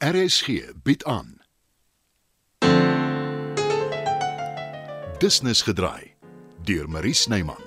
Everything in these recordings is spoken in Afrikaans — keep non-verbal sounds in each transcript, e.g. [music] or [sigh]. RSG bied aan. Business gedraai deur Marie Snyman.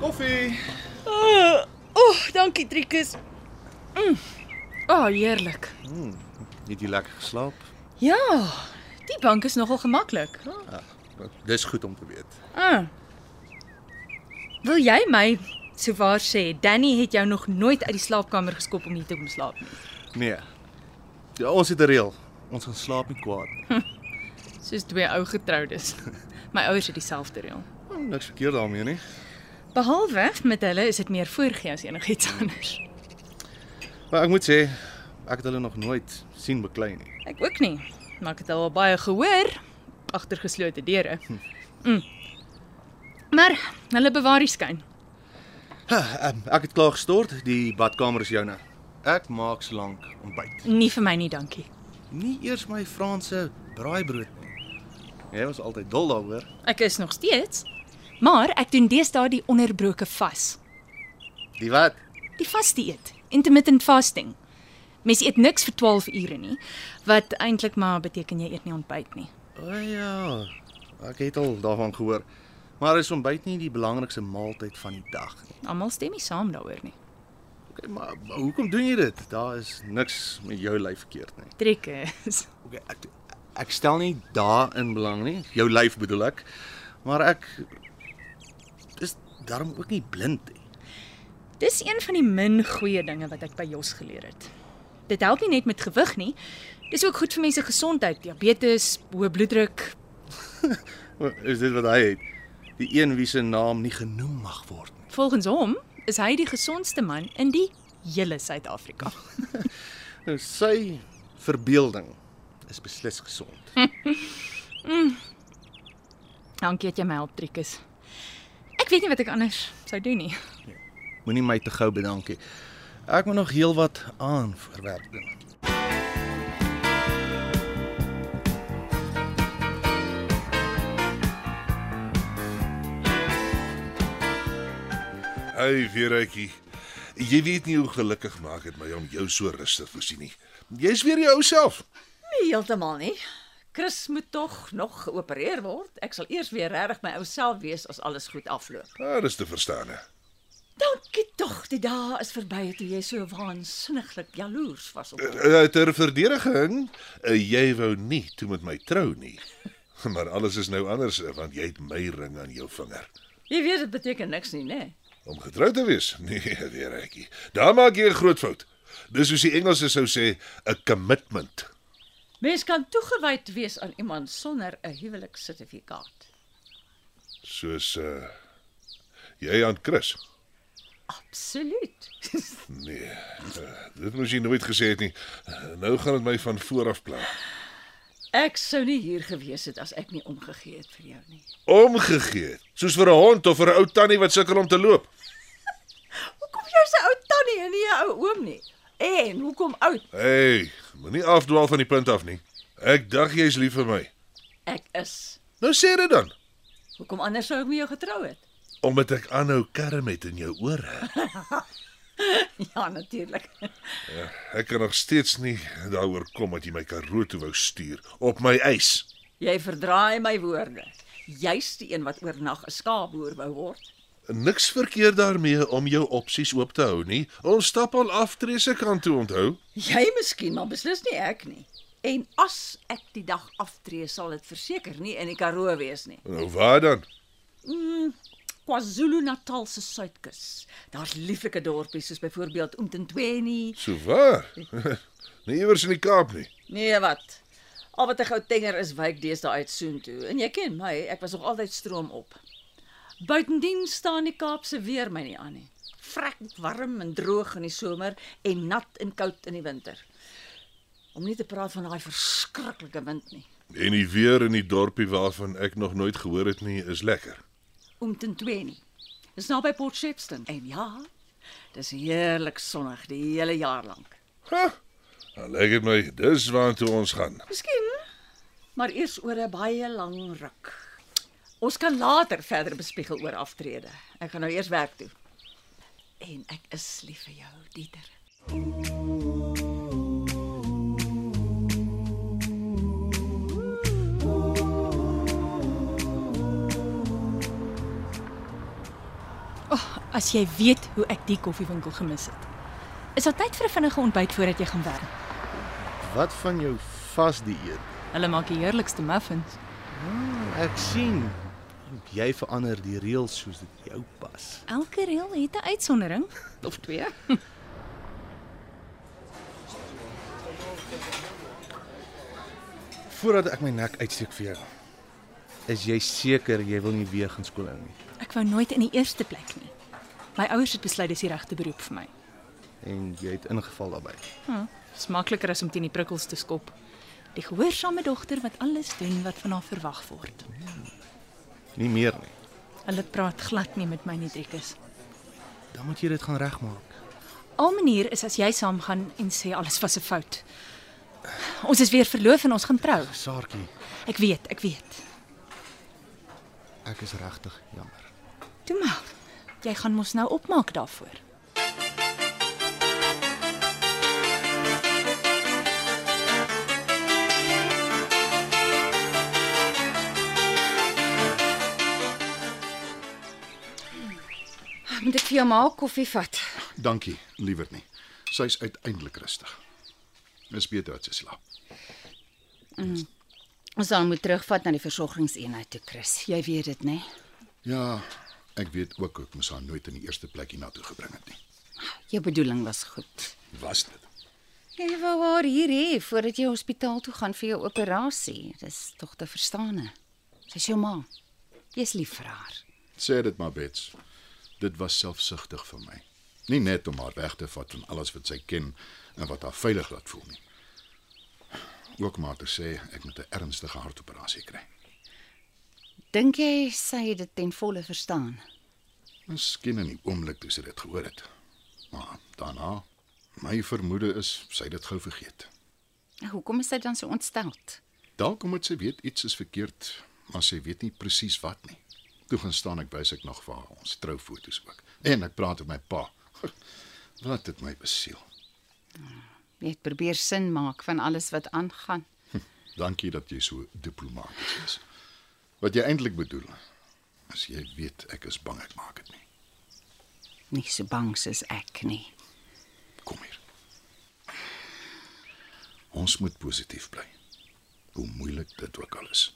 Koffie. Ooh, oh, dankie Trikus. Mm. Oh, heerlik. Het jy lekker geslaap? Ja, die bank is nogal gemaklik. Dis goed om te weet. Ah. Wil jy my souwaar sê Danny het jou nog nooit uit die slaapkamer geskop om hier te kom slaap nie. Nee. Ja, ons het 'n reël. Ons gaan slaap nie kwaad nie. Soos twee ou getroudes. [laughs] My ouers het dieselfde reël. Oh, niks verkeerd daarmee nie. Behalwe met hulle is dit meer voorgee as enigiets anders. Maar ek moet sê, ek het hulle nog nooit sien beklei nie. Ek ook nie, maar ek het al baie gehoor agter geslote deure. Mm. Maar hulle bewaar die skyn. Ha, em, Ehm, Ek het klaar gestort. Die badkamer is joune. Ek maak slank ontbyt. Nie vir my nie, dankie. Nie eers my Franse braaibrood nie. Jy was altyd dol daaroor. Ek is nog steeds, maar ek doen deesdae die onderbroke vas. Die wat? Die vas dieet, intermittent fasting. Mens eet niks vir 12 ure nie, wat eintlik maar beteken jy eet nie ontbyt nie. O oh, ja. Ek het al daarvan gehoor. Maar is ontbyt nie die belangrikste maaltyd van die dag nie? Almal stem nie saam daaroor nie. Okay, maar, maar hoekom doen jy dit? Daar is niks met jou lyf verkeerd nie. Trek is. Okay, ek ek stel nie daarin belang nie. Jou lyf bedoel ek. Maar ek is daarom ook nie blind nie. Dis een van die min goeie dinge wat ek by Jos geleer het. Dit help nie net met gewig nie. Dis ook goed vir mense gesondheid, diabetes, hoë bloeddruk. O, Is dit wat hy het? Die een wie se naam nie genoem mag word nie. Volgens hom is hy die gesondste man in die hele Suid-Afrika. Nou sy verbeelding is beslis gesond. Dankie dat jy my help, Trikus. Ek weet nie wat ek anders sou doen nie. Moenie my te gou bedankie. Ek moet nog heelwat aan verwerk doen. Hey Veretjie. Jy weet nie hoe gelukkig maak dit my om jou so rustig te sien nie. Jy's weer jou ou self. Nee, heeltemal nie. Chris moet tog nog geopereer word. Ek sal eers weer regtig my ou self wees as alles goed afloop. Ah, dis te verstaan. hè. Dankie tog, die dae is verby toe jy so waansinniglik jaloers was op. my. Uh, ter verdediging, uh, jy wou nie toe met my trou nie. [laughs] Maar alles is nou anders eh, want jy het my ring aan jou vinger. Jy weet dit beteken niks nie, né? Om getroud te wees? [laughs] Nee, Veretjie. Daar maak jy 'n groot fout. Dis soos die Engelse sou sê, 'n commitment. Mens kan toegewyd wees aan iemand sonder 'n huweliksertifikaat. Soos uh jy aan Chris. Absoluut. Nee, dit moes jy nooit gesê het nie. Nou gaan dit my van voor af pla. Ek sou nie hier gewees het as ek nie omgegee het vir jou nie. Omgegee, het, soos vir 'n hond of vir 'n ou tannie wat sukkel om te loop. Hoekom jy's 'n ou tannie en nie 'n ou oom nie? En hoekom oud? Hey, moenie afdwaal van die punt af nie. Ek dink jy's lief vir my. Ek is. Nou sê dit dan, Hoekom anders sou ek met jou getrou het? omdat ek aanhou kerm het in jou ore. Ja, natuurlik. Ja, Ek kan nog steeds nie daaroor kom dat jy my Karoo toe wou stuur op my eis. Jy verdraai my woorde. Jy's die een wat oornag 'n skaapboer wou word. Niks verkeerd daarmee om jou opsies oop te hou nie. Ons stap al aftree se kant toe, onthou? Jy miskien, maar beslis nie ek nie. En as ek die dag aftree, sal dit verseker nie in die Karoo wees nie. Nou waar dan? KwaZulu-Natal se suidkus. Daar's lieflike dorpies soos byvoorbeeld Umtentweni. So waar? [laughs] nie iewers in die Kaap nie. Nee, wat? Al wat 'n Goutenger is, wyk deesdae uit soontoe. En jy ken my, ek was nog altyd stroom op. Buitendien staan die Kaapse weer my nie aan nie. Vrek warm en droog in die somer en nat en koud in die winter. Om nie te praat van daai verskriklike wind nie. En die weer in die dorpie waarvan ek nog nooit gehoor het nie, is lekker. Omtrent 2 nie. Dis naby Port Shepstone. En ja, Dis heerlik sonnig die hele jaar lank. Ha. Nou lyk dit my dis waartoe ons gaan. Miskien, maar eers oor 'n baie lang ruk. Ons kan later verder bespiegel oor aftrede. Ek gaan nou eers werk toe. En ek is lief vir jou, Dieter. As jy weet hoe ek die koffiewinkel gemis het. Is daar tyd vir 'n vinnige ontbyt voordat jy gaan werk? Wat van jou vas dieet? Hulle maak die heerlikste muffins. Ek sien jy verander die reëls soos dit jou pas. Elke reël het 'n uitsondering. Of twee. Voordat ek my nek uitsteek vir jou. Is jy seker jy wil nie weer gaan skool in nie? Ek wou nooit in die eerste plek nie. My ouers het besluit dis die regte beroep vir my. En jy het ingeval daarbey. Hm, dis makliker as om teen die prikkels te skop. Die gehoorsame dogter wat alles doen wat van haar verwag word. Nie meer nie. Hulle praat glad nie met my nie, Driekus. Dan moet jy dit gaan regmaak. Al manier is as jy saamgaan en sê alles was 'n fout. Ons is weer verloof en ons gaan trou. Saartjie, Ek weet, ek weet. ek is regtig jammer. Toe maar. Jy gaan mos nou opmaak daarvoor. Moet ek vir jou maak koffie vat? Dankie, liewer nie. Sy's uiteindelik rustig. Dis beter dat sy slaap. Ons sal moet terugvat na die versorgingseenheid toe, Chris. Jy weet dit, né? Ja, ek weet ook ek moes haar nooit in die eerste plek hiernatoe gebring het nie. Jou bedoeling was goed. Was dit? Ja, Jy wou haar hier hê voordat jy hospitaal toe gaan vir jou operasie. Dis tog te verstaan. Sy's jou ma. Jy's lief vir haar. Sê dit maar bets. Dit was selfsugtig vir my. Nie net om haar weg te vat van alles wat sy ken en wat haar veilig laat voel nie. Ook maar te sê ek moet 'n ernstige hartoperasie kry. Dink jy sy het dit ten volle verstaan? Miskien in die oomblik toe sy dit gehoor het. Maar daarna, my vermoede is sy het dit gou vergeet. Nou, Hoekom is sy dan so ontsteld? Dalk omdat sy weet iets is verkeerd, maar sy weet nie presies wat nie. Toe gaan staan ek wys ek nog vir haar ons troufoto's ook. En ek praat met my pa. [laughs] Wat het my besiel. Jy het probeer sin maak van alles wat aangaan. Hm, Dankie dat jy so diplomaties is. Wat jy eintlik bedoel, as jy weet ek is bang ek maak dit nie. Nie so bang soos ek nie. Kom hier. Ons moet positief bly. Hoe moeilik dit ook al is.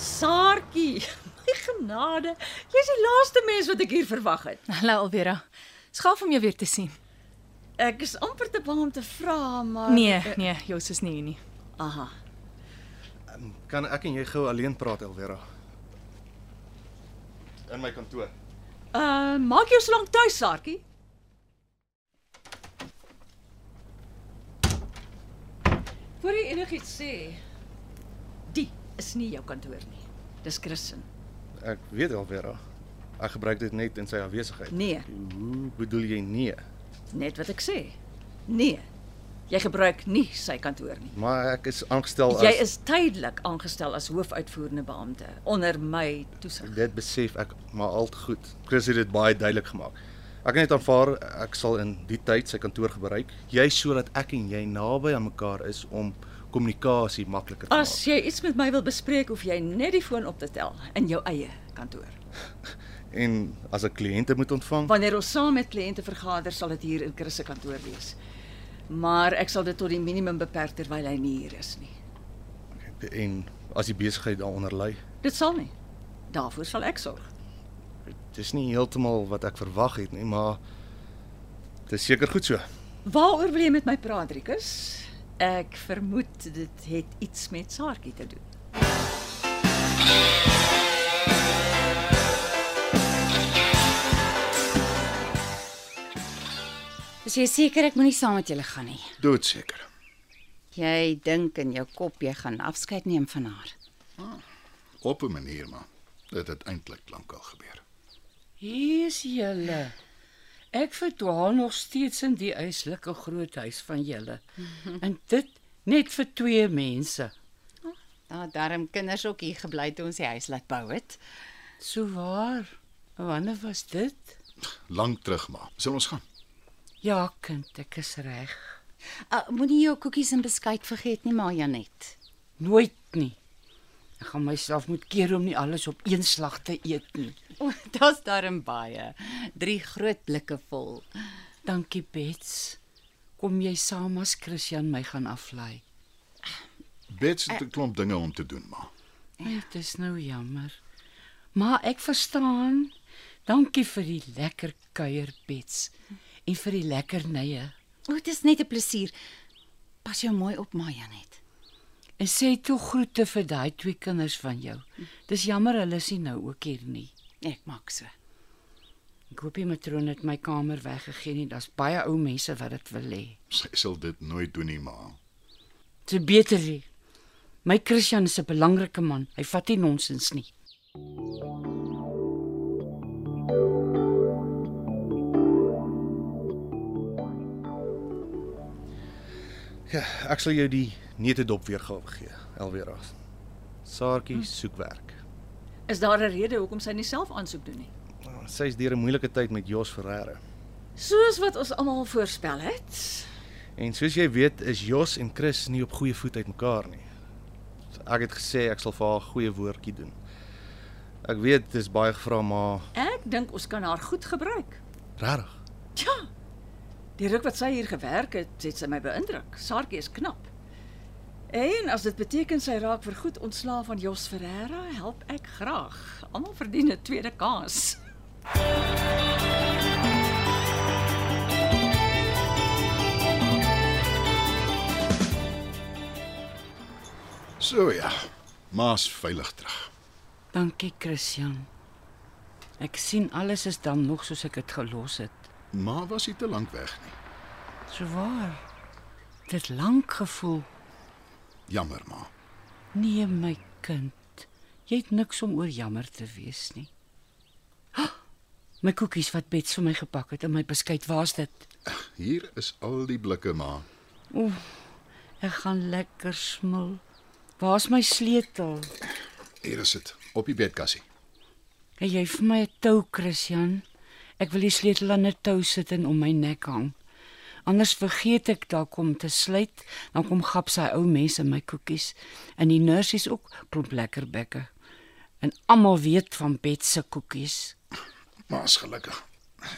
Saartjie, my genade, jy's die laaste mens wat ek hier verwag het. Hallo Alvera. Skaaf om jou weer te sien. Ek is amper te bang om te vra, maar Nee, nee, Jos is nie hier nie. Aha. Kan ek en jy gou alleen praat, Elvera? In my kantoor. Uh, maak jou so lank tuis, Saartjie. Voor jy enigiets sê, die is nie jou kantoor nie. Dis Christen. Ek weet Elvera. Ek gebruik dit net in sy afwesigheid. Nee, Hoe bedoel jy nee? net wat ek sê. Nee. Jy gebruik nie sy kantoor nie. Maar ek is aangestel as Jy is tydelik aangestel as hoofuitvoerende beampte onder my toesig. dit besef ek maar al te goed. Chris het dit baie duidelik gemaak. Ek het net aanvaar ek sal in die tyd sy kantoor gebruik, juis sodat ek en jy naby aan mekaar is om kommunikasie makliker te As maak. jy iets met my wil bespreek, hoef jy net die foon op te tel in jou eie kantoor. En as ek kliënte moet ontvang, Wanneer ons saam met kliënte vergader, sal dit hier in Chris se kantoor wees. Maar ek sal dit tot die minimum beperk terwyl hy nie hier is nie. en as die besigheid daaronder lê, Dit sal nie. Daarvoor sal ek sorg. dis nie heeltemal wat ek verwag het nie, maar dit is seker goed so. Waaroor wil jy met my praat, Rikus? Ek vermoed dit het iets met Saartjie te doen. Is jy seker ek moenie saam met julle gaan nie? Doodseker. Jy dink in jou kop jy gaan afskeid neem van haar. Op 'n manier maar. Dit het eintlik lankal gebeur. Hier's julle. Ek verdwaal nog steeds in die eislike groot huis van julle. En dit net vir twee mense. Daar darm Nou, kinders ook hier gebly toe ons die huis laat bou het. So waar? Wanneer was dit? Lank terug maar. Sal ons gaan? Ja, kind, ek is reg. Uh, Moenie jou koekies en beskuit vergeet nie, maar Janet. Nooit nie. Ek gaan myself moet keer om nie alles op een slag te eet nie. O, [laughs] daar's darm baie. Drie groot blikke vol. Dankie, Bets. Kom jy saam as Christian my gaan aflei? Bets het 'n klomp dinge om te doen maar. Dit is nou jammer. Maar ek verstaan. Dankie vir die lekker kuier, Bets, en vir die lekkernye. O, dit is net 'n plesier. Pas jou mooi op, maar Janet. En sê toe groete vir daai twee kinders van jou. Dis jammer hulle is nie nou ook hier nie. Ek maak so. Ek hoop die matroon het my kamer weggegee nie. Daar's baie ou mense wat dit wil hê. Sy sal dit nooit doen nie maar. Te beter nie. My Christian is 'n belangrike man. Hy vat nie nonsens nie. Ja, ek sal jou die neutedop weergawe gee, Elwera. Saartjie soek werk. Is daar 'n rede hoekom sy nie self aansoek doen nie? Nou, Sy is deur 'n moeilike tyd met Jos Ferreira. Soos wat ons almal voorspel het. En soos jy weet, is Jos en Chris nie op goeie voet uitmekaar nie. Ek het gesê ek sal vir haar 'n goeie woordjie doen. Ek weet dis baie gevra, maar Ek dink ons kan haar goed gebruik. regtig. Tja. Die ruk wat sy hier gewerk het, het sy my beïndruk. Saartjie is knap. En as dit beteken sy raak vir goed ontslaaf van Jos Ferreira, help ek graag. Almal verdien 'n tweede kans. So ja. Ma's veilig terug. Dankie, Christian. Ek sien alles is dan nog soos ek dit gelos het. Ma was nie te lank weg nie. So waar. Dit lank gevoel. Jammer maar. Nee, my kind. Jy het niks om oor jammer te wees nie. [gasps] My koekies wat Bets vir my gepak het in my beskuit, waar's dit? Hier is al die blikke maar. Ek gaan lekker smil. Waar's my sleutel? Hier is dit op die bedkassie. Het jy vir my 'n tou, Christian? Ek wil die sleutel aan 'n tou sit en om my nek hang. Anders vergeet ek dalk om te sluit, dan kom gap sy ou mense my koekies en die nursies ook klomp lekker bekke. En almal weet van Bet se koekies. Ma's gelukkig.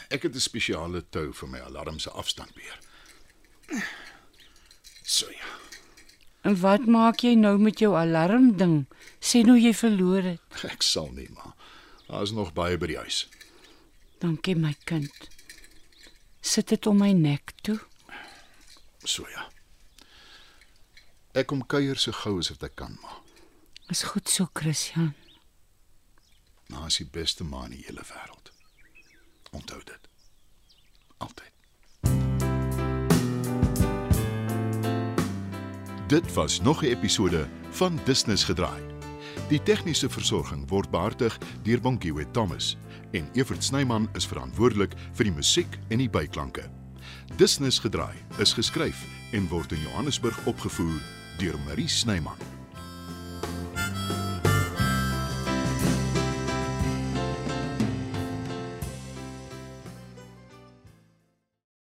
Ek het 'n spesiale tou vir my alarm se afstandbeheer. So ja. En wat maak jy nou met jou alarmding? Sê nou jy verloor dit. Ek sal nie maar. Daar's nog baie by die huis. Dankie my kind. Sit dit om my nek toe. So ja. Ek kom kuier so gou as wat ek kan maar. Is goed so, Christian. Ma Nou is die beste ma in die hele wêreld. Onthou dit. Altyd. Dit was nog 'n episode van Business gedraai. Die tegniese versorging word behartig deur Bonnie Witt Thomas en Evert Snyman is verantwoordelik vir die musiek en die byklanke. Business gedraai is geskryf en word in Johannesburg opgevoer deur Marie Snyman.